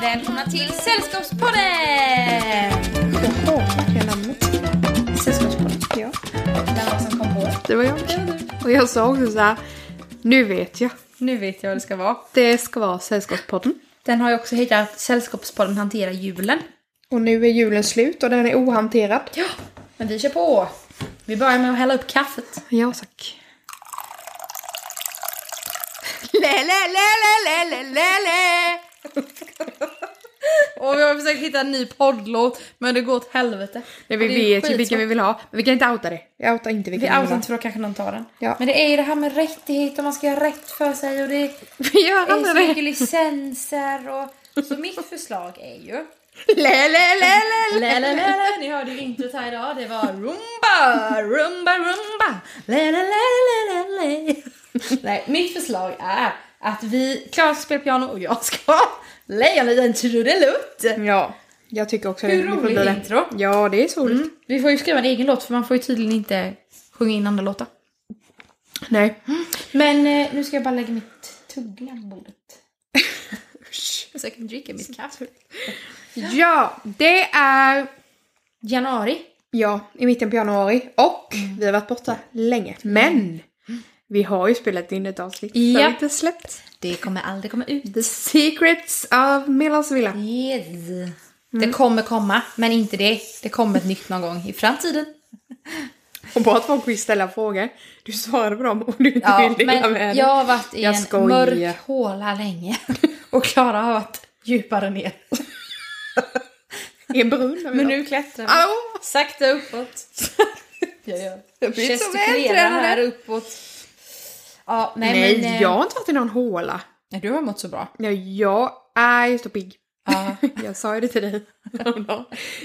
välkomna till Sällskapspodden! Jag hatar det namnet. Sällskapspodden. Ja. Vem var som kom på? Det var jag. Och jag sa också så här. Nu vet jag. Nu vet jag vad det ska vara. Det ska vara Sällskapspodden. Den har ju också hetat Sällskapspodden hanterar julen. Och nu är julen slut och den är ohanterad. Ja, men vi kör på! Vi börjar med att hälla upp kaffet. Ja, tack. Le, le, le, le, le, le, le, le. Och vi har försökt hitta en ny poddlåt, men det går åt helvete. Nej, vi Det är vet ju vilken vi skitsvårt. vill ha. Men vi kan inte outa det. Vi outar inte Vi vilken vi, outar vill inte för då kanske någon tar den. Ja. Men det är ju det här med rättigheter, man ska göra rätt för sig och det ha. Vi gör är så aldrig det. mycket licenser och... Så mitt förslag är ju... Le, le, le, le, le. La, la, la, la, ni hörde ju introt här idag. Det var rumba, rumba, rumba. La, la, la, la, la, la. Nej, mitt förslag är att vi, Klara ska spela piano och jag ska leja en liten trudelutt. Ja, jag tycker också Hur det. Nu får roligt bli det. intro. Ja, det är så roligt. Mm. Vi får ju skriva en egen låt för man får ju tydligen inte sjunga in andra låtar. Nej. Men eh, nu ska jag bara lägga mitt tuggla på bordet. Så jag kan dricka mitt kaffe. Ja, det är Januari. Ja, i mitten på januari. Och Mm. vi har varit borta länge. Men! Vi har ju spelat in ett avsnitt Ja. som inte släppt. Det kommer aldrig komma ut. The Secrets of Millers Villa. Yes. Det kommer komma, men inte det. Det kommer ett nytt någon gång i framtiden. Och bara att folk vill ställa frågor. Du svarade på dem och du inte Ja, vill dela med men dig. jag har varit i Jag en skojar. mörk håla länge. Och Klara har varit djupare ner. I en brunn. Men nu klättrar vi. Au! Sakta uppåt. Jag gör. Jag blir så gestikulerar vältränad. här uppåt. Ja, nej, Nej, men... eh, jag har inte varit i någon håla. nej, Du har mått så bra. Nej, jag är ju så pigg. Ja. Jag sa ju det till dig.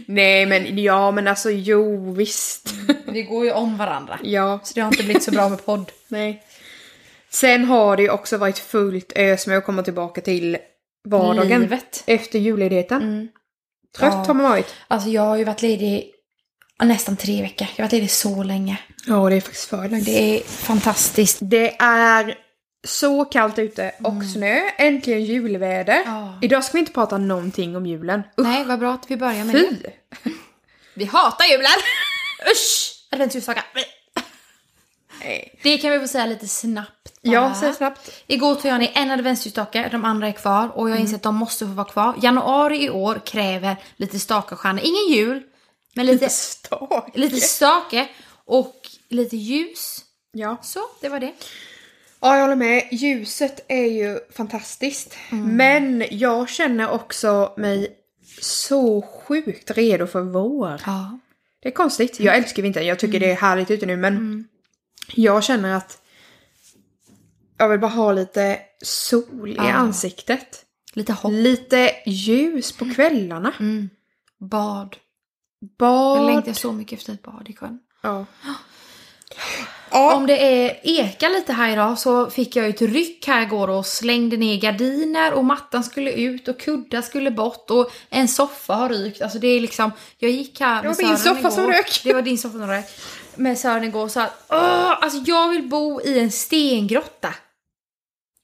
Nej, men ja, men alltså jo, visst. Vi går ju om varandra. Ja, Så det har inte blivit så bra med podd. Nej. Sen har det ju också varit fullt ös med att komma tillbaka till vardagen Mm. Livet. Mm. efter julledigheten. Trött Ja. har man varit. Alltså jag har ju varit ledig ja, nästan tre veckor. Jag har varit ledig så länge. Ja, det är faktiskt för länge. Det, Det är fantastiskt. är så kallt ute och snö. Äntligen julväder. Mm. Ja. Idag ska vi inte prata någonting om julen. Usch, Nej, vad bra att vi börjar med fy! Vi hatar julen! Usch! Adventsljusstaka. Nej. Det kan vi få säga lite snabbt bara. Ja, säg snabbt. Igår tog jag ner en adventsljusstake, de andra är kvar och jag inser att de måste få vara kvar. Januari i år kräver lite stakar och stjärnor. Ingen jul, men lite, Stag. lite stake och lite ljus. Ja. Så, det var det. ja, jag håller med. Ljuset är ju fantastiskt. Mm. Men jag känner också mig så sjukt redo för vår. Ja. Det är konstigt. Mm. Jag älskar vintern. Jag tycker det är härligt ute nu men jag känner att jag vill bara ha lite sol i Ja. ansiktet. Lite hopp. Lite ljus på kvällarna. Mm. Bad. Jag Bad. längtar så mycket efter ett bad i sjön. Ja. ja. Om det är ekar lite här idag så fick jag ju ett ryck här igår och slängde ner gardiner och mattan skulle ut och kuddar skulle bort och en soffa har rykt. Alltså det är liksom, jag gick här med Det var min Sören soffa som igår. rök. Det var din soffa som rök. Med Sören igår och sa att "Åh, alltså jag vill bo i en stengrotta.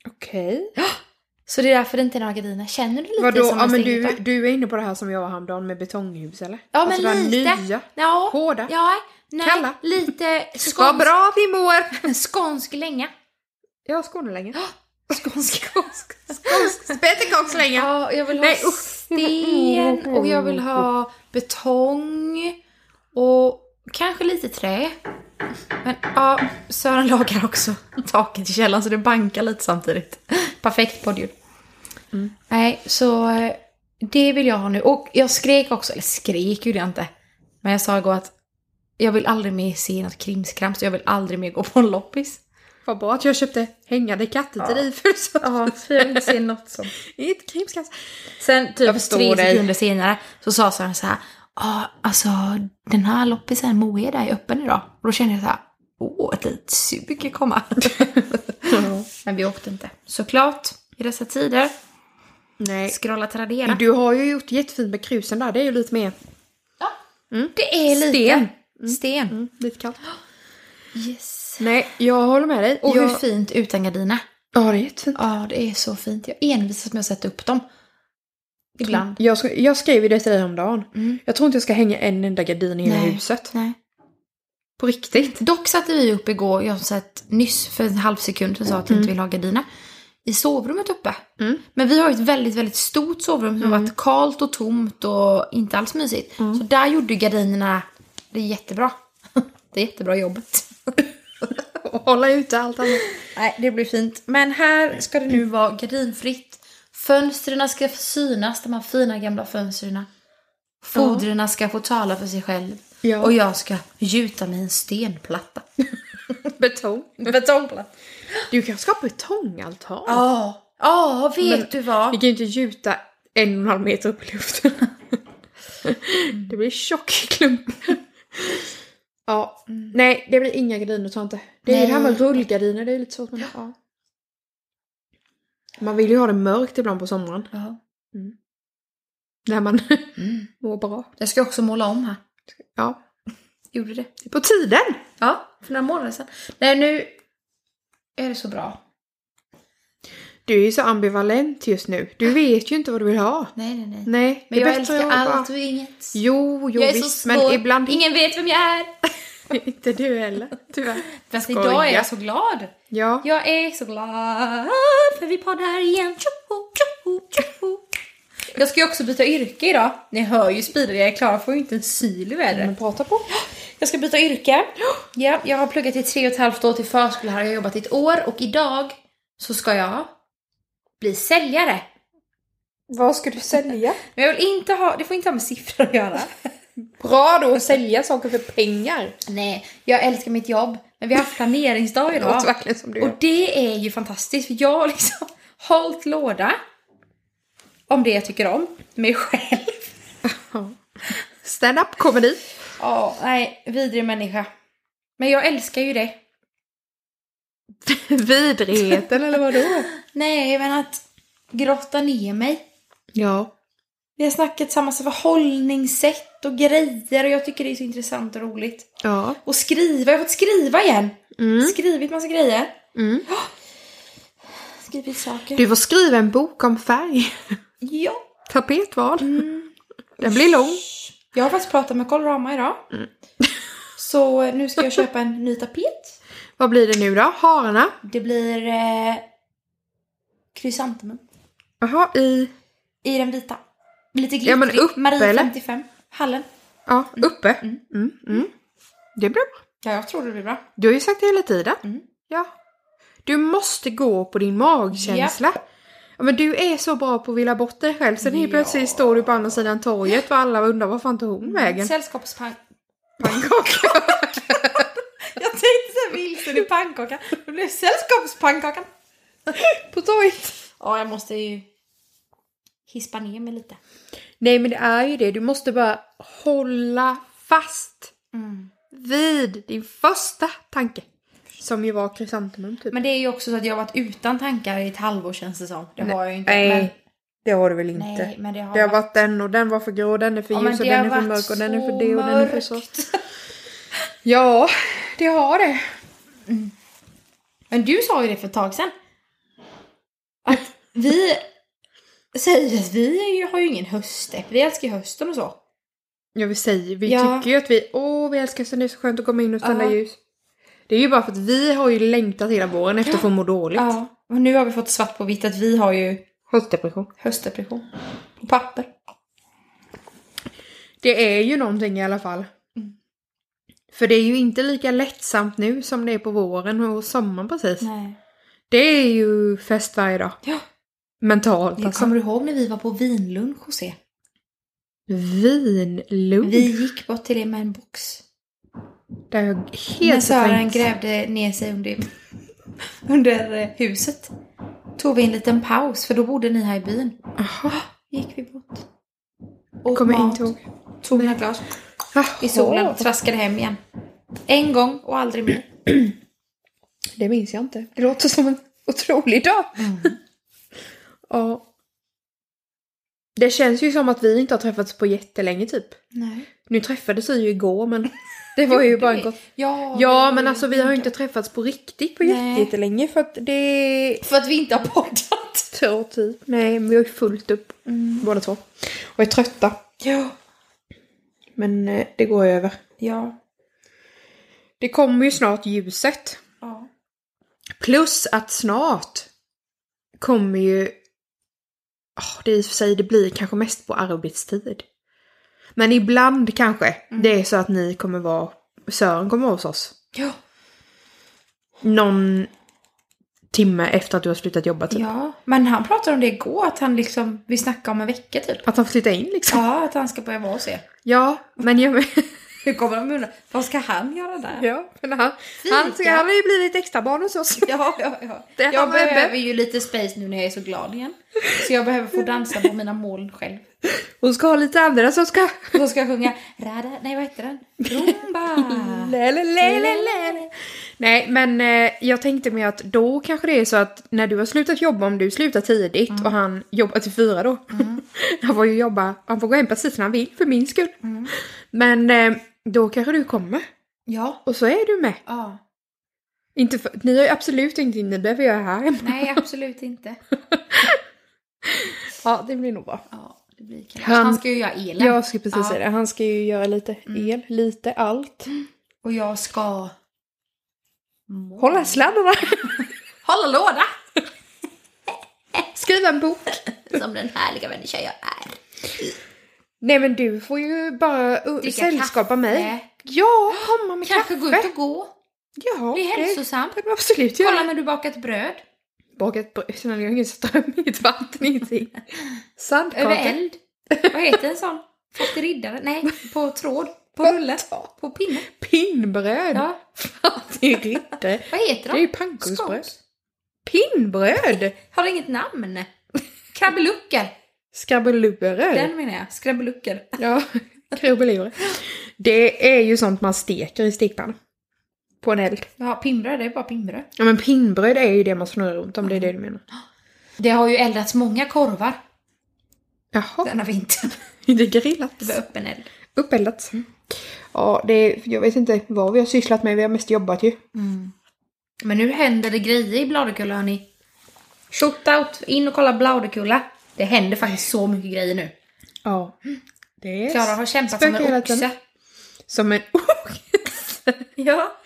Okej. Så det är därför det inte är några gardiner. Känner du lite Vadå? som Ja, en men stengrotta? du, du är inne på det här som jag var häromdagen med betonghus eller? Ja men Alltså det här lite. nya. ja, Hårda. ja, nej, Kalla. lite Vad skånsk, bra vi mår! skånsk länge. Jag har Skåne länge. Skånsk. Spettekock länge. Ja, jag vill ha Nej, usch. sten och jag vill ha betong och kanske lite trä. Men ja, Sören lagar också taket i källaren så det bankar lite samtidigt. Perfekt poddljud. Nej, så eh, det vill jag ha nu. Och jag skrek också, eller skrek gjorde jag inte. Men jag sa igår att jag vill aldrig mer se något krimskrams jag vill aldrig mer gå på en loppis. Vad bra att jag köpte hängande katter till dig för du sa Ja, jag vill inte se något sånt. Inte krimskrams. Sen Jag typ förstår tre dig. sekunder senare så sa Sören så här. Ja, alltså den här loppisen Moeda är öppen idag. Och då kände jag så här. Åh, ett litet sug komma. Men vi åkte inte. Såklart, i dessa tider. Nej. Scrolla Tradera. Du har ju gjort jättefint med krusen där, det är ju lite mer Ja, det är lite. Mm. Sten. Sten. mm, lite kallt. Yes. Nej, jag håller med dig. Och jag... hur fint utan gardiner. Ja, det är jättefint. Ja, det är så fint. Jag envisas med att sätta upp dem. Ibland. Jag, sk- jag skrev ju det till dig om dagen. Mm. Jag tror inte jag ska hänga en enda gardin i hela Nej. huset. Nej. På riktigt. Dock satte vi upp igår, jag har sett nyss för en halv sekund sen sa att jag inte vill ha gardiner. I sovrummet uppe. Mm. Men vi har ju ett väldigt, väldigt stort sovrum som har varit kallt och tomt och inte alls mysigt. Så där gjorde ju gardinerna det är jättebra. Det är jättebra jobbat. Och hålla ute allt annat. Nej, det blir fint. Men här ska det nu vara gardinfritt. Fönstren ska synas, de här fina gamla fönstren. Fodren ska få tala för sig själv. Ja. Och jag ska gjuta mig i en stenplatta. Betong. Betongplatta. Du kan skapa betongaltan. Ja, ja, vet Men- du vad? Vi kan ju inte gjuta en och en halv meter upp i luften. Mm. det blir tjock klump. ja, nej det blir inga gardiner tror jag inte. Det är ju det här med Mm. Nej. rullgardiner, det är lite svårt. Men, ja. Man vill ju ha det mörkt ibland på sommaren. Ja. När man Mm. mår bra. Jag ska också måla om här. Ja, Gjorde det. det är på tiden! Ja, för några månader sedan. Nej, nu är det så bra. Du är ju så ambivalent just nu. Du vet ju inte vad du vill ha. Nej, nej, nej. Nej, Men det är jag bättre älskar att bara- allt och inget. Jo, jo jag är så visst, svår. men ibland Ingen vet vem jag är. inte du heller, tyvärr. Fast Skoja. idag är jag så glad. Ja, Jag är så glad för vi poddar igen. Tjoho, tjoho, tjoho. Jag ska ju också byta yrke idag. Ni hör ju speedar, jag är klar, får ju inte en syl i vädret. men prata på. Jag ska byta yrke. Ja, jag har pluggat i tre och ett halvt år till förskollärare, jag har jobbat i ett år och idag så ska jag bli säljare. Vad ska du sälja? Men jag vill inte ha, det får inte ha med siffror att göra. Bra då att sälja saker för pengar. Nej, jag älskar mitt jobb. Men vi har haft planeringsdag Det låter idag. verkligen som du Och gör. det är ju fantastiskt för jag har liksom hållit låda om det jag tycker om, mig själv. Stand-up comedy. Ja, nej, vidrig människa. Men jag älskar ju det. Vidrigheten eller vad då? Nej, men att grotta ner mig. Ja. Vi har snackat tillsammans om förhållningssätt och grejer och jag tycker det är så intressant och roligt. Ja. Och skriva, jag har fått skriva igen. Mm. Skrivit massa grejer. Mm. Skrivit saker. Du får skriva en bok om färg. Ja. Tapetval. Den blir lång. Jag har faktiskt pratat med Colorama idag. Mm. Så nu ska jag köpa en ny tapet. Vad blir det nu då? Hararna? Det blir eh, krysantemum. Jaha, i... I den vita. Lite glittrig. Ja, men uppe, Marie eller? 55. Hallen. Ja, uppe. Mm. Mm. Mm. Det blir bra. Ja, jag tror det blir bra. Du har ju sagt det hela tiden. Mm. Ja. Du måste gå på din magkänsla. Ja, men du är så bra på att vilja bort dig själv. Sen helt Ja. plötsligt står du på andra sidan torget och alla undrar vad fan tog hon Mm, vägen? Sällskapspank. Pannkaka. Jag tänkte såhär vilsen i pannkakan. Det blev sällskapspannkakan. på torget. Ja, jag måste ju hispa ner mig lite. Nej men det är ju det. Du måste bara hålla fast Mm. vid din första tanke. Som ju var krysantemum typ. Men det är ju också så att jag har varit utan tankar i ett halvår känns det som. Det har jag ju inte. Nej, Men, det har du väl inte. nej, men det har, Det har varit den och den var för grå, den är för Ja, men ljus och det har den är för varit mörk och den är för så det och den är för så. mörkt. Ja, det har det. Men du sa ju det för ett tag sedan. Att vi säger att vi är ju- har ju ingen höstdepp. Vi älskar ju hösten och så. Ja, vi säger, vi Ja. tycker ju att vi, åh vi älskar så det är så skönt att komma in och tända Ja. ljus. Det är ju bara för att vi har ju längtat hela våren efter att få må dåligt. Ja. Och nu har vi fått svart på vitt att vi har ju Höstdepression. höstdepression. På papper. Det är ju någonting i alla fall. Mm. För det är ju inte lika lättsamt nu som det är på våren och sommaren precis. Nej. Det är ju fest varje dag. Ja. Mentalt Jag alltså. kommer du ihåg när vi var på vinlunch hos er? Vinlunch. Vi gick bort till er med en box. Det är jag helt När Sören förträngt. grävde ner sig under, under eh, huset. Tog vi en liten paus, för då bodde ni här i byn. Jaha, gick vi bort. Och kommer mat, inte ihåg. tog några glas i Jaha. solen och traskade hem igen. En gång och aldrig mer. Det minns jag inte. Det låter som en otrolig dag. Ja. Det känns ju som att vi inte har träffats på jättelänge typ. Nej. Nu träffades vi ju igår men det var ju bara en kort... Ja, Ja det var men ju- alltså vi har ju inte träffats på riktigt på Nej. jättelänge för att det... För att vi inte har poddat. två typ. Nej, men vi har ju fullt upp Mm. båda två. Och är trötta. Ja. Men eh, det går över. Ja. Det kommer ju snart ljuset. Ja. Plus att snart kommer ju... Ah, det är i och för sig, det blir kanske mest på arbetstid. Men ibland kanske det är så att ni kommer vara... Sören kommer vara hos oss. Ja. Någon timme efter att du har slutat jobba typ. ja. Men han pratade om det igår, att han liksom vill snacka om en vecka typ. Att han får flytta in liksom. Ja, att han ska börja vara hos er. Ja, men jag men... Hur kommer de undra? Vad ska han göra där? Ja, men han, han, Fika. han har ju blivit extra barn hos oss. Ja, ja, ja. Det är jag han Bebbe. behöver ju lite space nu när jag är så glad igen. Så jag behöver få dansa på mina moln själv. Hon ska ha lite andra som ska... Och så ska jag sjunga Rada, nej vad heter den? Rumba! Le, le, le, le, le. Nej, men eh, jag tänkte mer att då kanske det är så att när du har slutat jobba, om du slutar tidigt Mm. och han jobbar till fyra då. han får ju jobba, han får gå hem precis när han vill för min skull. Mm. Men eh, då kanske du kommer Ja. och så är du med. Ja. Inte för, ni har ju absolut ingenting ni behöver göra här hemma. Nej, absolut inte. Ja, det blir nog bra. Ja, det blir kalas. Han- Han ska ju göra elen. Jag ska precis Ja. Mm. säga det, han ska ju göra lite el, lite allt. Och jag ska... Mål. Hålla sladdarna, Hålla låda! skriva en bok. Som den härliga människa jag är. Nej men du får ju bara uh, Dricka sällskapa kaffe. mig. Ja, komma med Kanske kaffe. gå ut och gå. Ja, Bli hälsosam. det kan man absolut Kolla göra. när du bakat bröd. Bakat bröd, sen har jag ingen ström, inget vatten, ingenting. Över Sandkaka. eld. Vad heter en sån? Fast i riddare? Nej, på tråd. På rulle. På pinne. Pinnbröd. Ja, Det är riddare. vad heter Det är ju de? pannkaksbröd. Scones. Pinnbröd! Har det inget namn? Krabbeluckor. Skrabbelurer. Den menar jag. Skrabbeluckor. Ja, krabbelurer. Det är ju sånt man steker i stekpannan. På en eld. Ja, pinnbröd, det är bara pinnbröd. Ja men pinnbröd är ju det man snurrar runt om, det är det du menar. Det har ju eldats många korvar Jaha, denna vintern. det grillats. Det Mm. var öppen eld. Uppeldat. Ja, det är, jag vet inte vad vi har sysslat med, vi har mest jobbat ju. Men nu händer det grejer i Bladerkulla hörni. Shoot out, in och kolla Bladerkulla. Det händer faktiskt så mycket grejer nu. Ja. Det är Klara har kämpat spökar som en hela tiden. Alltså, oxe. Som en oxe. Ja.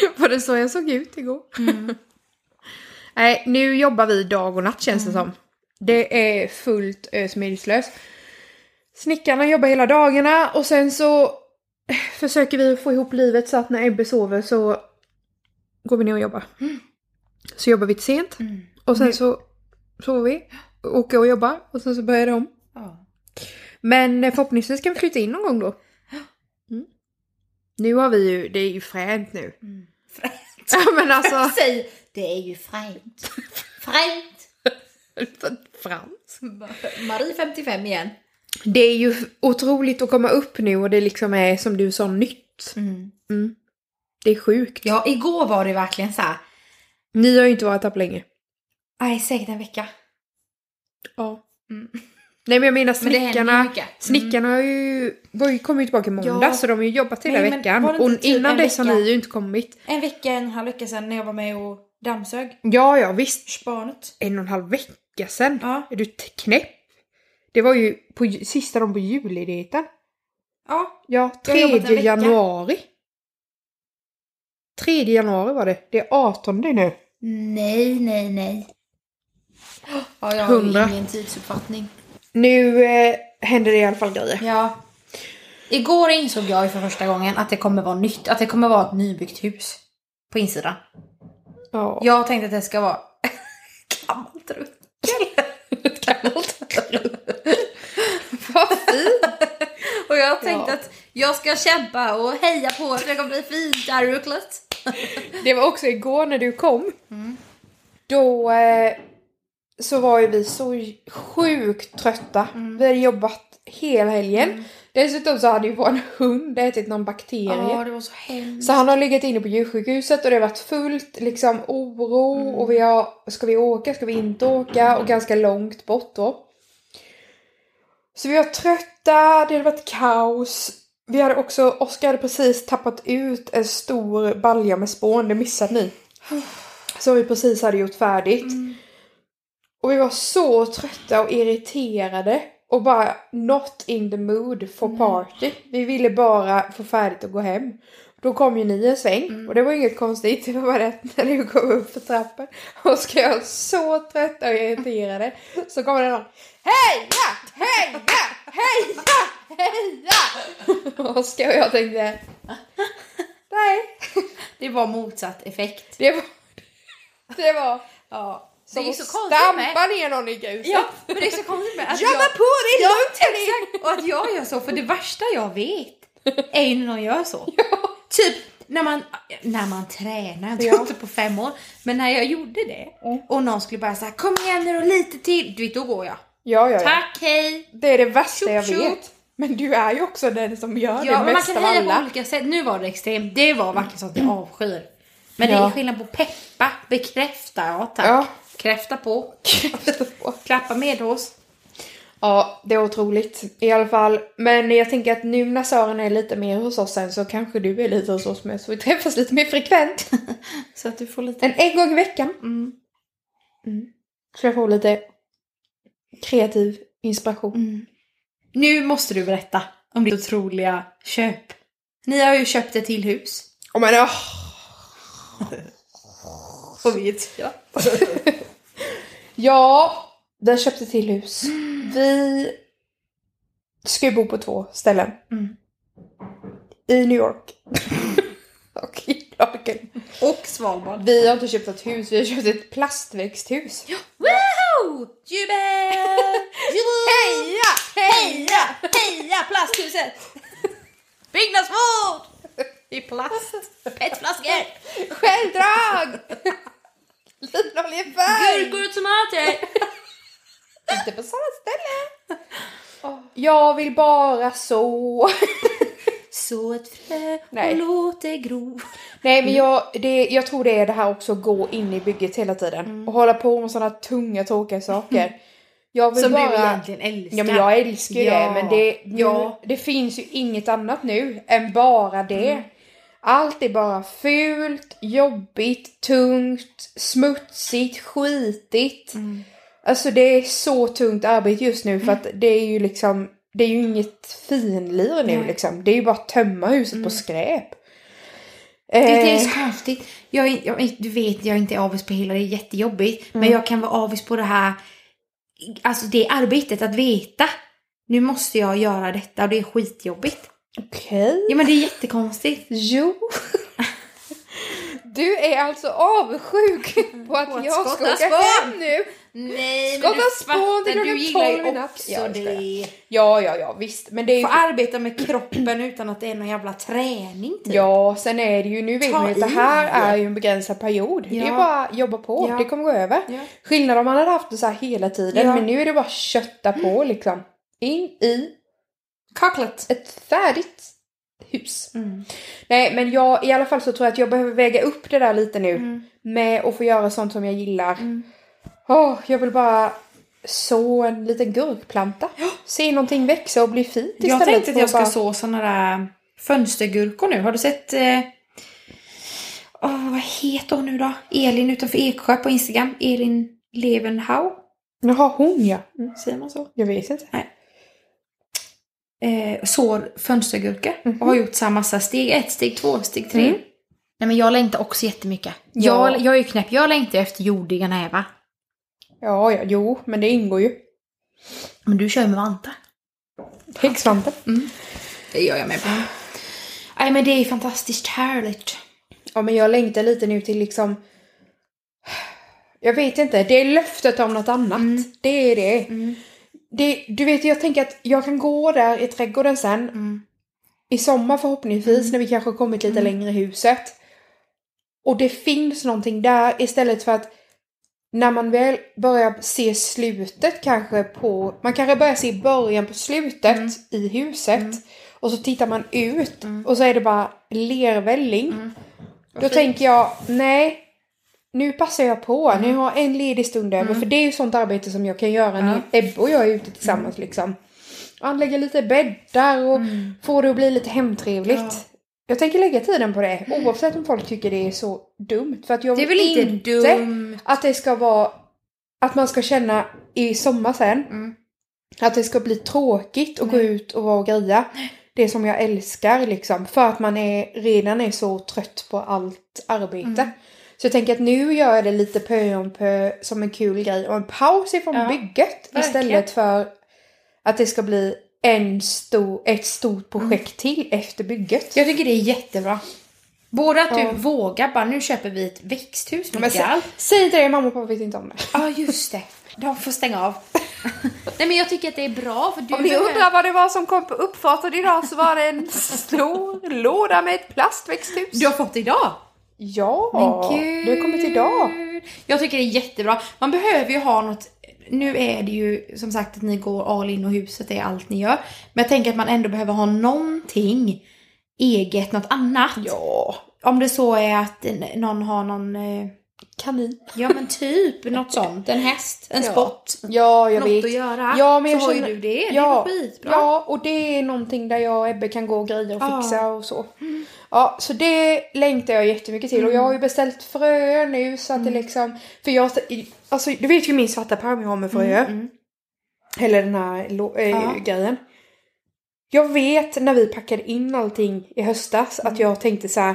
Mm. Var det så jag såg ut igår? Nej, nu jobbar vi dag och natt känns Mm. det som. Det är fullt ös medvetslös. Snickarna jobbar hela dagarna och sen så eh, försöker vi få ihop livet så att när Ebbe sover så går vi ner och jobbar. Mm. Så jobbar vi till sent och sen så sover vi, åker och jobbar och sen så börjar det om. ja. Men eh, förhoppningsvis kan vi flytta in någon gång då. Mm. Nu har vi ju, det är ju fränt nu. Mm. Fränt. Ja men Ah. alltså, Säg, det är ju fränt. Fränt. frans. Marie 55 igen. Det är ju otroligt att komma upp nu och det liksom är som du sa nytt. Mm. Det är sjukt. Ja, igår var det verkligen så här. Ni har ju inte varit här på länge. Nej, säkert en vecka. Ja. Mm. Nej men jag menar Men det händer snickarna. ju mycket. Mm. Snickarna har ju, var ju, kom ju tillbaka i måndag Ja. så de har ju jobbat hela Nej, men veckan. var det Och inte typ innan en dess har vecka? ni ju inte kommit. En vecka, en halv vecka sedan när jag var med och dammsög Ja, ja visst. barnet. En och en halv vecka sedan. Ja. Är du t- knäpp? Det var ju på, ju- sista dagen på julledigheten. Ja, Ja, Jag har jobbat en 3 vecka. januari. 3 januari var det. Det är 18 nu. Nej, nej, nej. Ja, jag har Hundra. ju ingen tidsuppfattning. Nu eh, händer det i alla fall grejer. Ja. Igår insåg jag ju för första gången att det kommer vara nytt, att det kommer vara ett nybyggt hus på insidan. Ja. Jag tänkte att det ska vara ett gammalt ruckel. Ett gammalt ruckel. Vad fint! Och jag tänkte Ja. att jag ska kämpa och heja på att det kommer bli fint där rucklet. Det var också igår när du kom. Mm. Då eh, så var ju vi så sjukt trötta. Mm. Vi hade jobbat hela helgen. Dessutom så hade ju vår hund ätit någon bakterie. det var så hemskt. Så han har legat inne på djursjukhuset och det har varit fullt liksom oro och vi har, ska vi åka, ska vi inte åka och ganska långt bort då. Så vi var trötta, det hade varit kaos. Vi hade också, Oskar hade precis tappat ut en stor balja med spån, det missade ni. Som vi precis hade gjort färdigt. Och vi var så trötta och irriterade och bara not in the mood for party. Vi ville bara få färdigt och gå hem. Då kom ju ni en sväng Mm. och det var inget konstigt. Det var bara det att när du kom upp för trappen och ska jag så trötta och irriterade så kommer det någon Heja! Heja! Heja! Heja! Och ska jag tänkte Nej, Det var motsatt effekt. det var... Det var Ja. som det är att så konstigt med... stampa ner någon i gruset. Ja, men det är så konstigt med att Jobba jag... på, det är Ja, lugnt hörni! Exakt! Och att jag gör så, för det värsta jag vet är ju när någon gör så. Typ när man, när man tränar, inte Ja. inte på fem år, men när jag gjorde det Mm. och någon skulle bara säga kom igen nu och lite till, du vet då går jag. Ja, ja, ja. Tack, hej! Det är det värsta jag Tjopp, tjopp. vet. Men du är ju också den som gör Ja, det men man mest kan av heja på alla. Mm. olika sätt. Nu var det extremt, det var verkligen sånt jag avskyr. Men det är Ja. skillnad på peppa, bekräfta, ja tack. Ja. Kräfta på, klappa med oss. Ja, det är otroligt i alla fall. Men jag tänker att nu när Sören är lite mer hos oss sen så kanske du är lite hos oss med så vi träffas lite mer frekvent. Så att du får lite... En, en gång i veckan. Mm. Så jag får lite kreativ Mm. inspiration. Nu måste du berätta om ditt otroliga köp. Ni har ju köpt ett till hus. Oh, men, åh. På vitt, ja. Ja, den köpte till hus. Mm. Vi ska ju bo på två ställen. Mm. I New York. Och i Laken. Och Svalbard. Vi har inte köpt ett hus, vi har köpt ett plastväxthus. Woho! Jubel! Jubel! Heja! Heja! Heja plasthuset! Byggnadsvård! I plast. Petflaskor! Självdrag! Linoljefärg! Gurkor och tomater! Inte på samma ställe. Jag vill bara så. Så ett frö Nej. och låt det gro. Nej men jag, det, jag tror det är det här också att gå in i bygget hela tiden Mm. och hålla på med sådana tunga tråkiga saker. Jag vill Som bara... du egentligen älskar. Ja men jag älskar ju Ja. det men det, nu, Ja. det finns ju inget annat nu än bara det. Mm. Allt är bara fult, jobbigt, tungt, smutsigt, skitigt. Mm. Alltså det är så tungt arbete just nu för att det är ju liksom det är ju inget finlir nu Nej. Mm. liksom. Det är ju bara att tömma huset på skräp. Det är Eh, så konstigt. Jag, är- jag, är- du vet, jag är inte avis på hela, det är jättejobbigt. Men jag kan vara avis på det här, alltså det arbetet att veta. Nu måste jag göra detta och det är skitjobbigt. Okej. Ja men det är jättekonstigt. Jo. Du är alltså avundsjuk på att På att jag ska skotta åka spån. hem nu. Nej Skotta spån till klockan du gillar tolv i ju natt. också Ja, jag skojar. det. Ja, ja, ja, visst. Men det är ju... Få arbeta med kroppen utan att det är någon jävla träning typ. Ja, sen är det ju, nu vet Ta man ju att det i. här är ju en begränsad period. Det är Ja. bara att jobba på, Ja. det kommer gå över. Ja. Skillnad om man hade haft det så här hela tiden, Ja. Mm. men nu är det bara att kötta på liksom. In i Kaklet. ett färdigt hus. Mm. Nej, men jag, i alla fall så tror jag att jag behöver väga upp det där lite nu. Mm. Med att få göra sånt som jag gillar. Mm. Åh, jag vill bara så en liten gurkplanta. Se någonting växa och bli fint Jag tänkte att för jag ska bara- så såna där fönstergurkor nu. Har du sett... Eh... åh, vad heter hon nu då? Elin utanför Eksjö på Instagram. Elin Levenhau. Jaha, hon ja. Mm. Säger man så? Jag vet inte. Eh, sår fönstergurka. Mhm. Och har gjort så här massa steg ett, steg två, steg tre. Mm. Nej men jag längtar också jättemycket. Ja. Jag, jag är ju knäpp. Jag längtar efter jordiga nävar. Ja, ja, jo, men det ingår ju. Men du kör med vantar. Häcksvampen. Det gör jag med på. Nej men det är fantastiskt härligt. Ja, men jag längtar lite nu till liksom... Jag vet inte, det är löftet om något annat. Det är det. det. Du vet, jag tänker att jag kan gå där i trädgården sen. I sommar förhoppningsvis, när vi kanske har kommit lite längre i huset. Och det finns någonting där istället för att när man väl börjar se slutet kanske på... Man kanske börjar se början på slutet i huset. Och så tittar man ut och så är det bara lervälling. Då tänker jag, nej. Nu passar jag på. Nu har jag en ledig stund över. För det är ju sånt arbete som jag kan göra när Ebbe och jag är ute tillsammans liksom. Anlägga lite bäddar och få det att bli lite hemtrevligt. Ja. Jag tänker lägga tiden på det oavsett om folk tycker det är så dumt. För att jag Det är vill väl inte dumt. att det ska vara att man ska känna i sommar sen Mm. att det ska bli tråkigt att gå ut och vara och greja. Det som jag älskar liksom. För att man är, redan är så trött på allt arbete. Så jag tänker att nu gör jag det lite pö om pö som en kul grej och en paus ifrån Ja, bygget. verkligen. Istället för att det ska bli en stor, ett stort projekt till efter bygget. Jag tycker det är jättebra. Både att du Ja. vågar bara nu köper vi ett växthus med Men sä- gall. säg inte det, mamma och pappa vet inte om det. Ja just det. De får stänga av. Nej men jag tycker att det är bra för du Om ni behöver- undrar vad det var som kom på uppfarten idag så var det en stor låda med ett plastväxthus. Du har fått idag. Ja, Men det har kommit idag. gud. Jag tycker det är jättebra. Man behöver ju ha något. Nu är det ju som sagt att ni går all in och huset är allt ni gör. Men jag tänker att man ändå behöver ha någonting eget, något annat. Ja, Om det så är att n- någon har någon, eh, kanin. ja men typ något sånt. En häst, en Ja. sport. Ja, jag något vet. att göra. Ja, men jag så har ju känner- du det. Det Ja. är ju skitbra. Ja, och det är någonting där jag och Ebbe kan gå och greja och Ja. fixa och så. Ja, så det längtar jag jättemycket till. Och jag har ju beställt fröer nu så att det liksom... För jag... Alltså, du vet ju min svarta pärm jag har med fröer. Mm. Eller den här lo- eh, Ja. grejen. Jag vet när vi packade in allting i höstas att jag tänkte så här.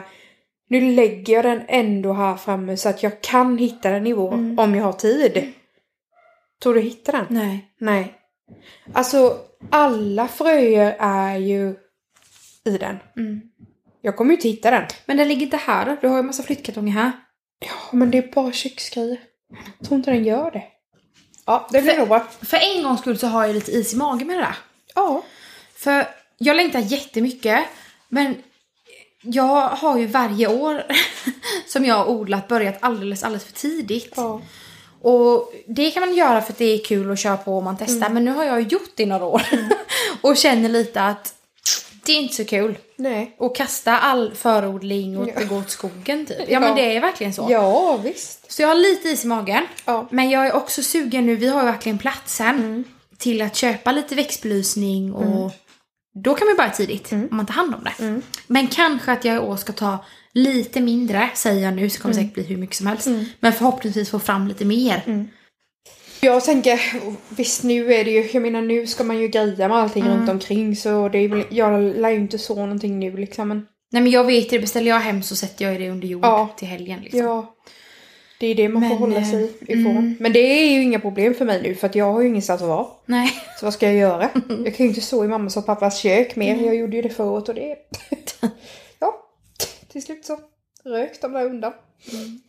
Nu lägger jag den ändå här framme så att jag kan hitta den i vår om jag har tid. Tror du hitta den? Nej. Mm. Nej. Alltså alla fröer är ju i den. Jag kommer ju inte hitta den. Men den ligger inte här då. Du har ju massa flyttkartonger här. Ja, men det är bara köksgrejer. Jag tror inte den gör det. Ja, det blir nog bra. För en gångs skull så har jag lite is i magen med det där. Ja. För jag längtar jättemycket. Men jag har ju varje år som jag har odlat börjat alldeles, alldeles för tidigt. ja. Och det kan man göra för att det är kul att köra på och man testar. Mm. Men nu har jag ju gjort det i några år. och känner lite att det är inte så kul. Nej. Och kasta all förodling och gå åt skogen typ. Ja, men Ja. det är verkligen så. Ja, visst. Så jag har lite is i magen. Ja. Mm. Men jag är också sugen nu, vi har ju verkligen platsen till att köpa lite växtbelysning och då kan vi börja tidigt Mm. om man tar hand om det. Men kanske att jag i år ska ta lite mindre, säger jag nu, så kommer det Mm. säkert bli hur mycket som helst. Men förhoppningsvis få fram lite mer. Jag tänker, visst nu är det ju, jag menar nu ska man ju greja med allting Mm. runt omkring så det är väl, jag lär ju inte så någonting nu liksom men Nej men jag vet det, beställer jag hem så sätter jag det under jord Ja. till helgen. Liksom. ja. Det är det man Men, får hålla eh, sig ifrån. Men det är ju inga problem för mig nu för att jag har ju ingenstans att vara. Nej. Så vad ska jag göra? Jag kan ju inte stå i mammas och pappas kök mer. Mm. Jag gjorde ju det förut och det... ja, till slut så rök de där undan. Mm.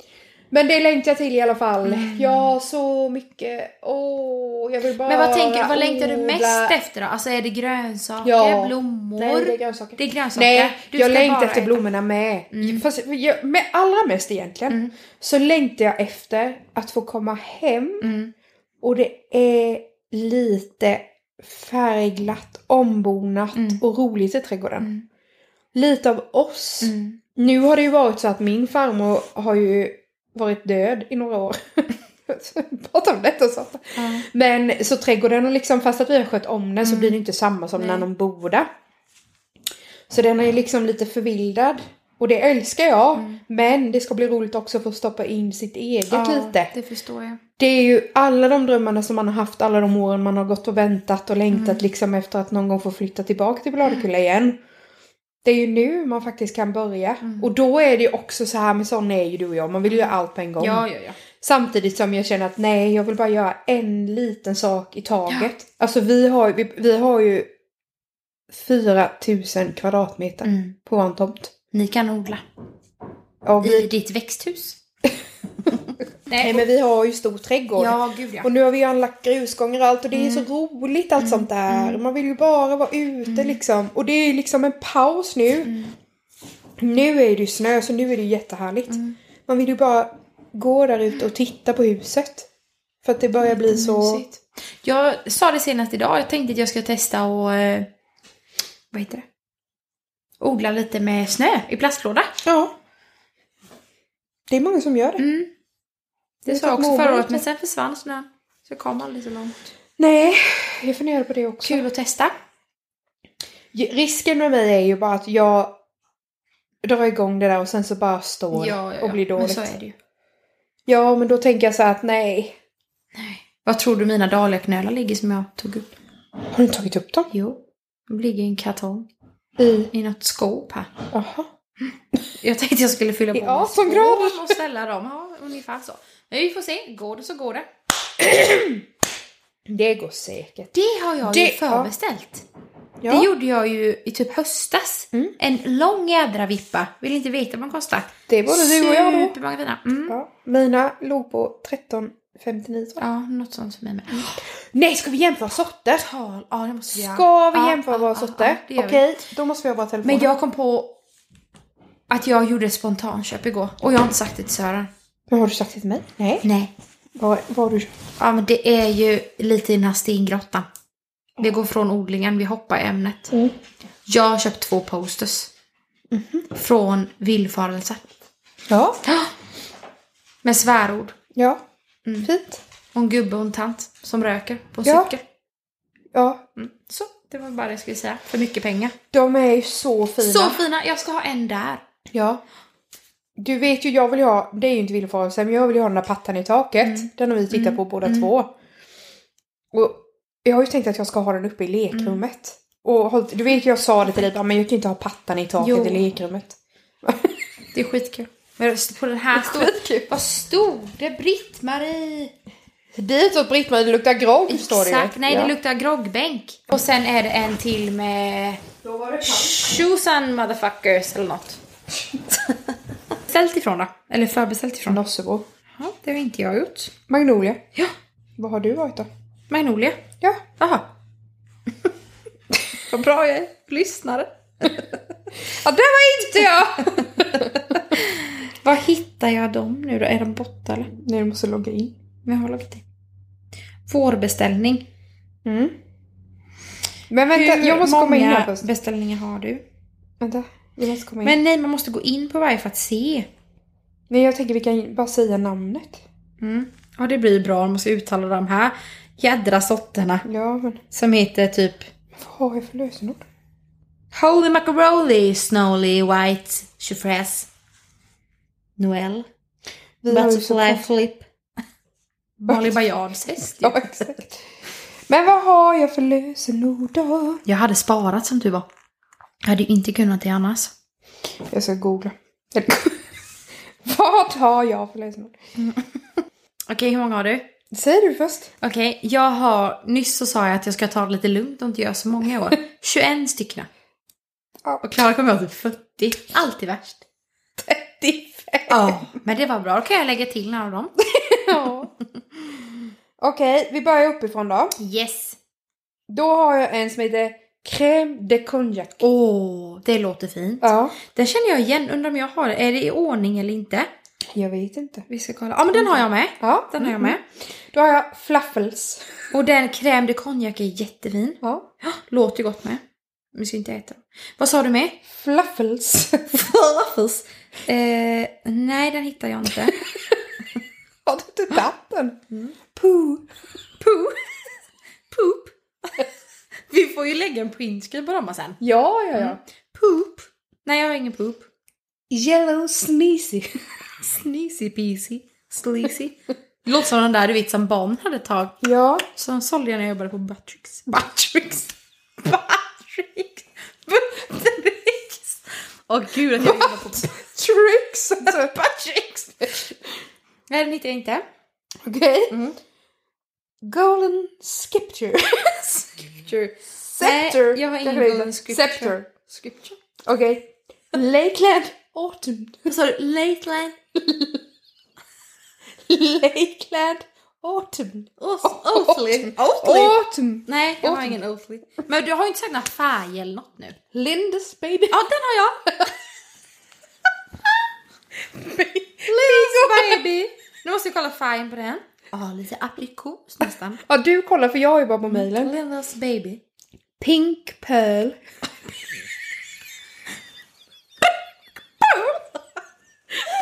Men det längtar jag till i alla fall. Ja, så mycket. Åh, jag vill bara... Men vad, tänker, vad längtar du mest odla. efter då? Alltså är det grönsaker, Ja. blommor? Nej, det är grönsaker. Det är grönsaker. Nej, Du jag ska Mm. längtar bara efter äta- blommorna med. Fast jag, med allra mest egentligen Mm. så längtar jag efter att få komma hem Mm. och det är lite färgglatt, ombonat Mm. och roligt i trädgården. Mm. Lite av oss. Mm. Nu har det ju varit så att min farmor har ju varit död i några år. Prata om detta och sånt. Ja. Men så trädgården, har liksom, fast att vi har skött om den så blir det inte samma som när Mm. Nej. de bor där. Så den är ju liksom lite förvildad. Och det älskar jag. Mm. Men det ska bli roligt också att få stoppa in sitt eget lite. det Mm. förstår jag. Det är ju alla de drömmarna som man har haft alla de åren man har gått och väntat och längtat Mm. liksom efter att någon gång få flytta tillbaka till Bladekulla igen. Det är ju nu man faktiskt kan börja. Mm. Och då är det ju också så här, men sån är ju du och jag, man vill ju göra allt på en gång. Ja, ja, ja. Samtidigt som jag känner att nej, jag vill bara göra en liten sak i taget. Alltså vi har, ju- vi, vi har ju 4000 kvadratmeter Mm. på en tomt. Ni kan odla Ja, i vi, ditt växthus. nej, men vi har ju stor trädgård. Ja, Mm. gud ja. Och nu har vi ju anlagt grusgångar och allt och det är så roligt allt sånt Mm. där. Man vill ju bara vara ute liksom. Och det är ju liksom en paus nu. Mm. Nu är det ju snö så nu är det ju jättehärligt. Mm. Man vill ju bara gå där ute och titta på huset. För att det börjar bli så... Mysigt. Jag sa det senast idag, jag tänkte att jag skulle testa och eh, vad heter det? Odla lite med snö i plastlåda. Ja. Det är många som gör det. Mm. Det Det sa är jag så också förra året, mormor. men sen försvann snön. Så jag kom aldrig så långt. Nej, jag funderar på det också. Kul att testa. Ju- Risken med mig är ju bara att jag drar igång det där och sen så bara står det och blir Men dåligt. så är det ju. Ja, men då tänker jag så här att nej. Vad tror du mina dahliaknölar ligger som jag tog upp? Har du tagit upp dem? Jo, de ligger i en kartong. I? I något skåp här. Jaha. Jag tänkte jag skulle fylla på I med 18 skåp grader. och ställa dem. Ja, ungefär så. Men vi får se. Går det så går det. Det går säkert. Det har jag Det- ju ja. förbeställt. Ja. Det gjorde jag ju i typ höstas. Mm. En lång jädra vippa. Vill inte veta vad den kostar. Det var det du och jag då. Supermånga fina. Mm. Ja. Mina låg på 13,59 tror jag. Ja, något sånt för mig med. Nej, ska vi jämföra sorter? Tal. Ja, det måste vi göra. Ska vi Ja, jämföra ja, våra ja, ja, sorter? det gör vi. Okej, då måste vi ha våra telefoner. Men jag kom på att jag gjorde ett spontanköp igår. Och jag har inte sagt det till Sören. Men har du sagt det till mig? Nej. Nej. Vad, vad har du Ja, men det är ju lite i den här stengrottan. Vi går från odlingen, vi hoppar i ämnet. Mm. Jag har köpt två posters. Från Villfarelse. Mhm. Ja. Med svärord. Ja. Mm. Fint. Och en gubbe och en tant som röker på en Ja. cykel. Ja. Mm. Så, det var bara det jag skulle säga. För mycket pengar. De är ju så fina. Så fina! Jag ska ha en där. Ja. Du vet ju, jag vill ju ha, det är ju inte villfarelse, men jag vill ju ha den där pattan i taket. Mm. Den har vi tittat på båda två. Och jag har ju tänkt att jag ska ha den uppe i Mm. lekrummet. Och håll- du vet ju, jag sa det till dig, "Ja, men jag kan ju inte ha pattan i taket Jo. i lekrummet. Det är skitkul. Men på den här stod... Vad stod det? Britt-Marie? Ditåt Britt-Marie, det luktar grogg står det ju. Exakt, nej ja. det luktar groggbänk. Och sen är det en till med... Tjosan motherfuckers eller något. Beställt ifrån då. Eller förbeställt ifrån. Nossebo. Ja, det har inte jag gjort. Magnolia. Ja, Vad har du varit då? Magnolia. Ja. Jaha. Vad bra jag är. Lyssnare. Ja, det var inte jag! Var hittar jag dem nu då? Är de borta eller? nej, du måste logga in. Men jag har lagt in. Vårbeställning. Mm. Men vänta, Hur jag måste många komma in här först. beställningar har du? Vänta, jag måste komma in. Men nej, man måste gå in på varje för att se. Nej, jag tänker vi kan bara säga namnet. Mm. Ja, det blir bra. Man måste uttala de här jädra sorterna Ja, men som heter typ vad har jag för lösenord? Holy Macaroli, Snowly, White, Chiffres, Noel, Vi har ju så Butterfly kort- Flip, Molly Bajards häst. Ja, exakt. Men vad har jag för lösenord då? Jag hade sparat som du var. Jag hade ju inte kunnat det annars. Jag ska googla. Eller- vad har jag för lösenord? Okej, hur många har du? Säg du först. Okej, jag har... Nyss så sa jag att jag ska ta det lite lugnt och inte göra så många i år. 21 stycken. Ja. Och Klara kommer ihåg typ 40. Alltid värst. 35. Ja, men det var bra. Då kan jag lägga till några av dem. Ja. Okej, vi börjar uppifrån då. Yes. Då har jag en som heter Crème de Cognac. Åh, det låter fint. Ja, Den känner jag igen. Undrar om jag har den. Är det i ordning eller inte? jag vet inte. Vi ska kolla. Ja, men den har jag med. Ja, Den har jag med. Då har jag Fluffles. Och den crème de cognac är jättefin. Ja. Ja, Låter gott med. Vi ska inte äta den. Vad sa du med? Fluffles. Falafels. Eh, nej, den hittar jag inte. Har du inte tagit den? Pooh. Poo. Poop. Vi får ju lägga en printscreen på dem sen. Ja, ja, ja. Poop. Nej, jag har ingen poop. Yellow Sneezy. Sneezy peasy. Sleazy. Det låter som den där du vet som barn hade ett tag. Ja. Som sålde jag när jag jobbade på Buttricks. Buttricks! Buttricks! Buttricks! Åh gud att jag jobbar på Tricks alltså. Buttricks! Nej, den hittar jag inte. Okej. Mm. Golden Scepter. Scripture. Scepter. jag har Kanske ingen det heter. golden scepter. Scepter. Scripture. Okej. Lakeland Autumn. Vad sa du? Lateland? Lakeland Autumn. Oatley? Autumn. Nej, jag har ingen Oatley. Men du har ju inte sagt några färg eller något nu. Lindes baby. Ja, den har jag! Please baby! Nu måste jag kolla färgen på den. Ja, lite aprikos nästan. Ja, du kollar för jag har ju bara på mejlen. Lillas baby. Pink Pearl.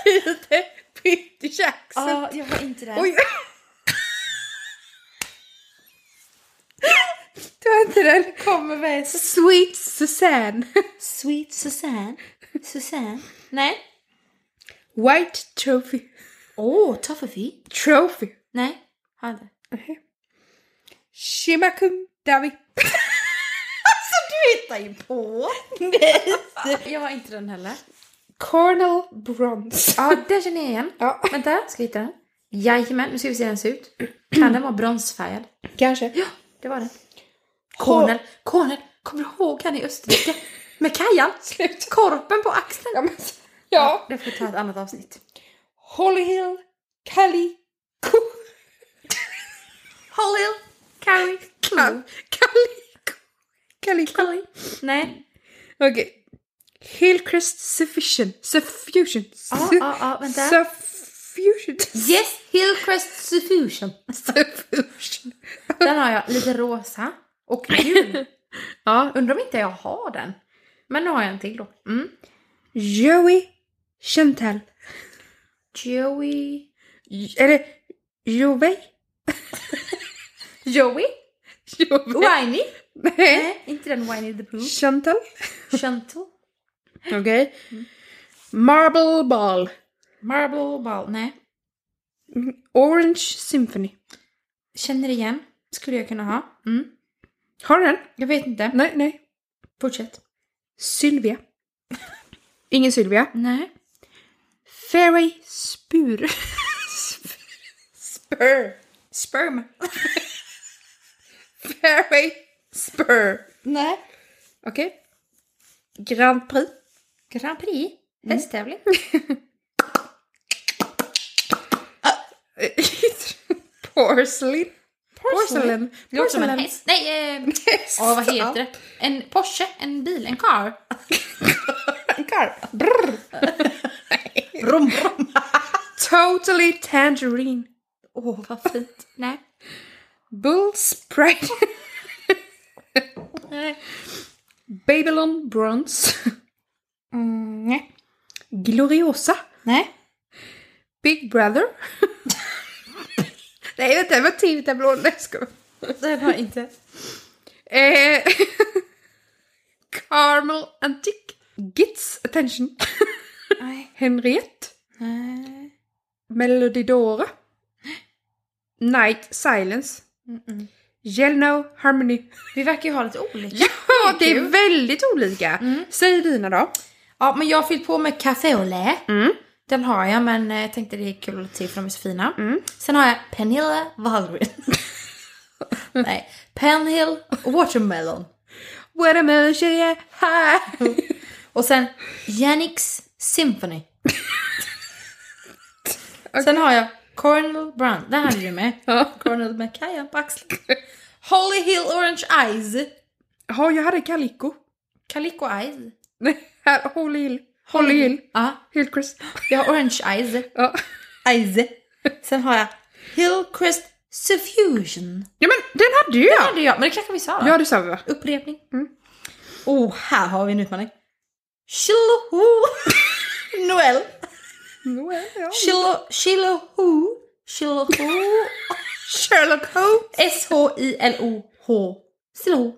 Peter Peter Jackson. Ja, jag har inte den. Oj. Du har inte den. kommer med Sweet Susanne. Sweet Susanne. Susanne. Nej. White Trophy. Åh, oh, Toffefee. Trophy. Nej, har jag inte. Shimakum Davi. Du hittar ju på! Jag har inte den heller. Cornel Bronze. Ja, den känner jag igen. Ja, Vänta, ska jag hitta den? Jajamän, nu ska vi se hur den ser ut. Kan den vara bronsfärgad? kanske. Ja, det var den. Kornel, Kornel, kommer du ihåg han i Österrike? Med kajan? Sluta. Korpen på axeln? Ja. men- ja. Det får vi ta ett annat avsnitt. Holly Hill Kali Ko- Holly, Carrie, Clou, Kaliko. Kaliko. Chloe. Nej. Okej. Hillcrest Suffusion. Suffusion. Ja, Su- ja, ja, vänta. Suffusion. Yes, Hillcrest Suffusion. Suffusion. Den har jag, lite rosa och gul. Ja. Undrar om inte jag har den. Men nu har jag en till då. Mm. Joey Chantal. Joey. Eller Joey? Joey? Joey. Whiny? Nej. Nej, inte den Whiny the Pooh. Chantal. Chantal? Okej. Marble Ball. Marble Ball? Nej. Orange Symphony. Känner igen. Skulle jag kunna ha. Mm. Har du den? Jag vet inte. Nej, nej. Fortsätt. Sylvia. Ingen Sylvia. Nej. Fairy Spur. Spur. Sperm? Fairy Spur. Nej. Okej. Grand Prix. Grand Prix? Hästtävling? Porcelain. Porcelain. Det låter som en häst. Nej, eh, åh, vad heter det? det? En Porsche? En bil? En car? En karp. Brr. Totally Tangerine. Åh, vad fint. Nej. Bull Sprite. Nej. Babylon Bronze. Mm, nej. Gloriosa. Nej. Big Brother. Nej, vänta, det var TV-tablån. Nej, jag skojar. Det var inte. Eh, Carmel Antique. Gits Attention. Nej. Henriette. Nej. Melodidora. Night Silence. Yell No Harmony. Vi verkar ju ha lite olika. Ja, Mm. det är väldigt olika. Säg dina då. Ja, men jag har fyllt på med café au lait. Den har jag, men eh, jag tänkte det är kul att till för de är så fina. Sen har jag Pernilla Wahlgren. Nej, Penhill Watermelon. What a Äh, motion, hi. Och sen Janix Symphony. Sen har jag Cornel Brown. Den hade du med. Ja. Cornel med kajan på axeln. Holy Hill Orange Eyes. Ja, jag hade Calico. Calico Eyes. Nej, här, Holy Hill. Holy Hill. Ja, Hillcrest. jag har Orange Eyes. Ja. Eyes. Sen har jag Hillcrest Suffusion. ja, men den hade ju jag. hade jag, men det kanske vi sa då. Ja, det sa vi va? Upprepning. Oh, här har vi en utmaning. Shilohu Noel. Mm, Shilo, Shilohu. Shilohu. Sherlock Holmes. S-H-I-L-O-H. Shilohu.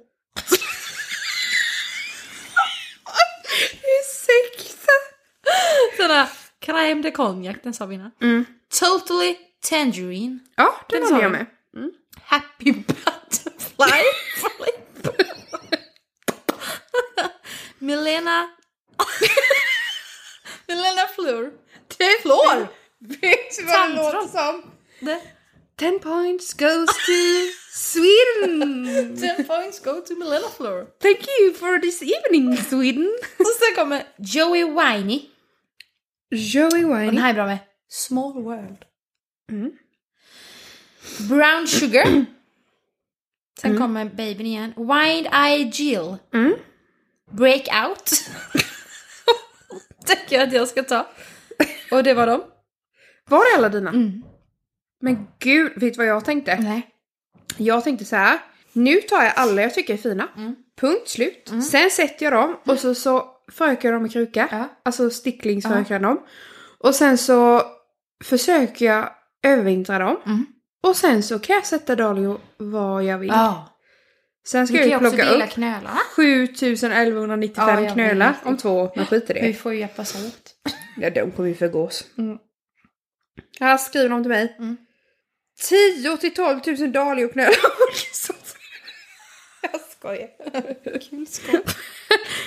Ursäkta. Sådär. Crème de cognac, den sa vi innan. Totally Tangerine. Mm. Ja, den, Den den hade sa jag vi. med. Happy Butterfly. Milena... Milena Fleur. Det är Flor! Vet du vad det Tantrum. låter som? Det- Ten points goes to Sweden. Ten points go to Milena Fleur. Thank you for this evening Sweden. Och sen kommer Joey Winey. Joey Den Wine. här är bra med. Small World. Brown Sugar. Sen kommer babyn igen. Wind Eye Jill. Mm. Breakout. Tänker jag att jag ska ta. Och det var dem. Var är alla dina? Mm. Men gud, vet du vad jag tänkte? Nej. Jag tänkte så här. Nu tar jag alla jag tycker är fina. Mm. Punkt slut. Sen sätter jag dem och så, så förökar jag dem i kruka. Ja. Alltså sticklingsförökar jag dem. Och sen så försöker jag övervintra dem. Mm. Och sen så kan jag sätta Dalio vad jag vill. Ja. Sen ska Vi kan ju jag ju också plocka dela upp knölarna. 7195 Ja, jag vet. knölar om två år. Men skit i Vi det. får ju hjälpas åt. Ja, de kommer ju förgås. Mm. Här skriver de till mig. Mm. 10 till 12 000 dahlior och knölådor. Jag skojar. Kul skoj.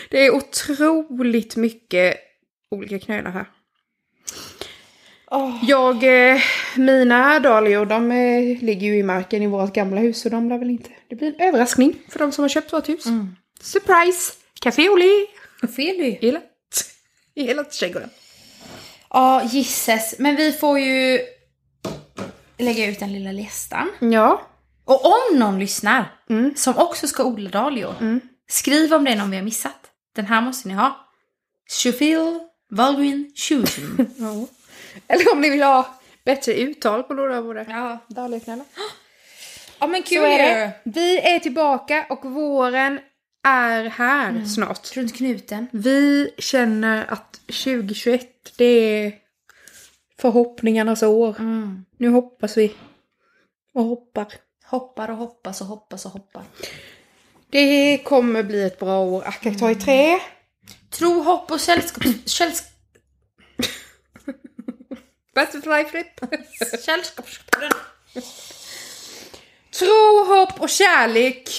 Det är otroligt mycket olika knölar här. Jag, eh, mina dahlior de eh, ligger ju i marken i vårt gamla hus så de blir väl inte... Det blir en överraskning för de som har köpt vårt hus. Surprise! Café au lait! Fel ju. I hela, I hela trädgården. Ja, gisses. Men vi får ju lägga ut den lilla listan. Ja. Och om någon lyssnar Mm. som också ska odla dahlior, Mm. skriv om det är någon vi har missat. Den här måste ni ha. Shufil Valgrin Shushin. ja. Eller om ni vill ha bättre uttal på några av våra ja. dahliorknölar. ja, men kul Så är ju. det. Vi är tillbaka och våren är här snart. Runt knuten. Vi känner att 2021, det är förhoppningarnas år. Mm. Nu hoppas vi. Och hoppar. Hoppar och hoppas och hoppas och hoppar. Det kommer bli ett bra år. Akta ta i trä. Tro, hopp och sällskaps... sällsk- Butterfly flip. Sällskapspodden. Tro, hopp och kärlek.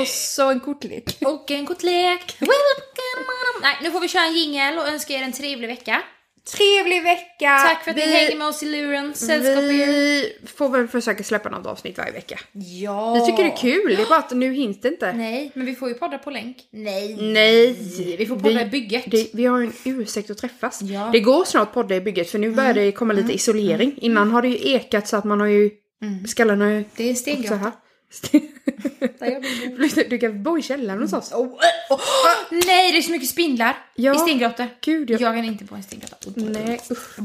och så en kortlek. Och en kortlek. Welcome. Nej, nu får vi köra en jingel och önska er en trevlig vecka. Trevlig vecka. Tack för att ni Vi- hänger med oss i luren. Sällskap er. Vi får väl försöka släppa något avsnitt varje vecka. Ja. Vi tycker det är kul, det är bara att nu hinns det inte. Nej, men vi får ju podda på länk. Nej. Nej. Vi får podda i bygget. Det, vi har ju en ursäkt att träffas. Ja. Mm. Det går snart podda i bygget för nu börjar det komma lite isolering. Innan har det ju ekat så att man har ju Mm. skallen har ju Det är så stengrottor. här. du kan bo i källaren hos oss. Oh, oh, oh. Nej, det är så mycket spindlar Ja. i stengrottor. Gud, jag... Jagar inte på en stengrotta. Nej, usch.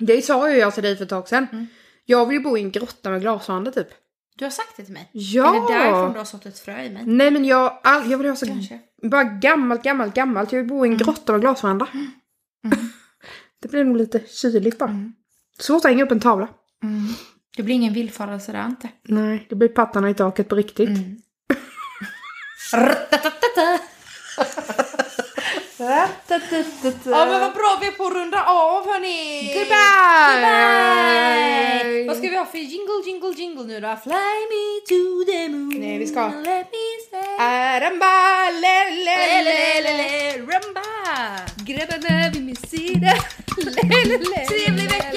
Det sa ju jag till dig för ett tag sedan. Mm. Jag vill ju bo i en grotta med glashandel typ. Du har sagt det till mig. Ja! Eller därifrån du har sått ett frö i mig. Nej men jag, all, jag vill ha så Kanske. bara gammalt, gammalt, gammalt. Jag vill bo i en grotta med glasveranda. Mm. det blir nog lite kyligt bara. Svårt att hänga upp en tavla. Mm. Det blir ingen villfarelse där inte. Nej, Mm. det blir pattarna i taket på riktigt. Ja men vad bra, vi är på att runda av hörni! Goodbye! Bye! Vad ska vi ha för jingle, jingle, jingle nu då? Fly me to the moon Nej, vi ska ha- and Let me stay Aramba, le, le, le, le. Lelelele, rumba! Grabbarna vid min sida Lelele. Trevlig vecka!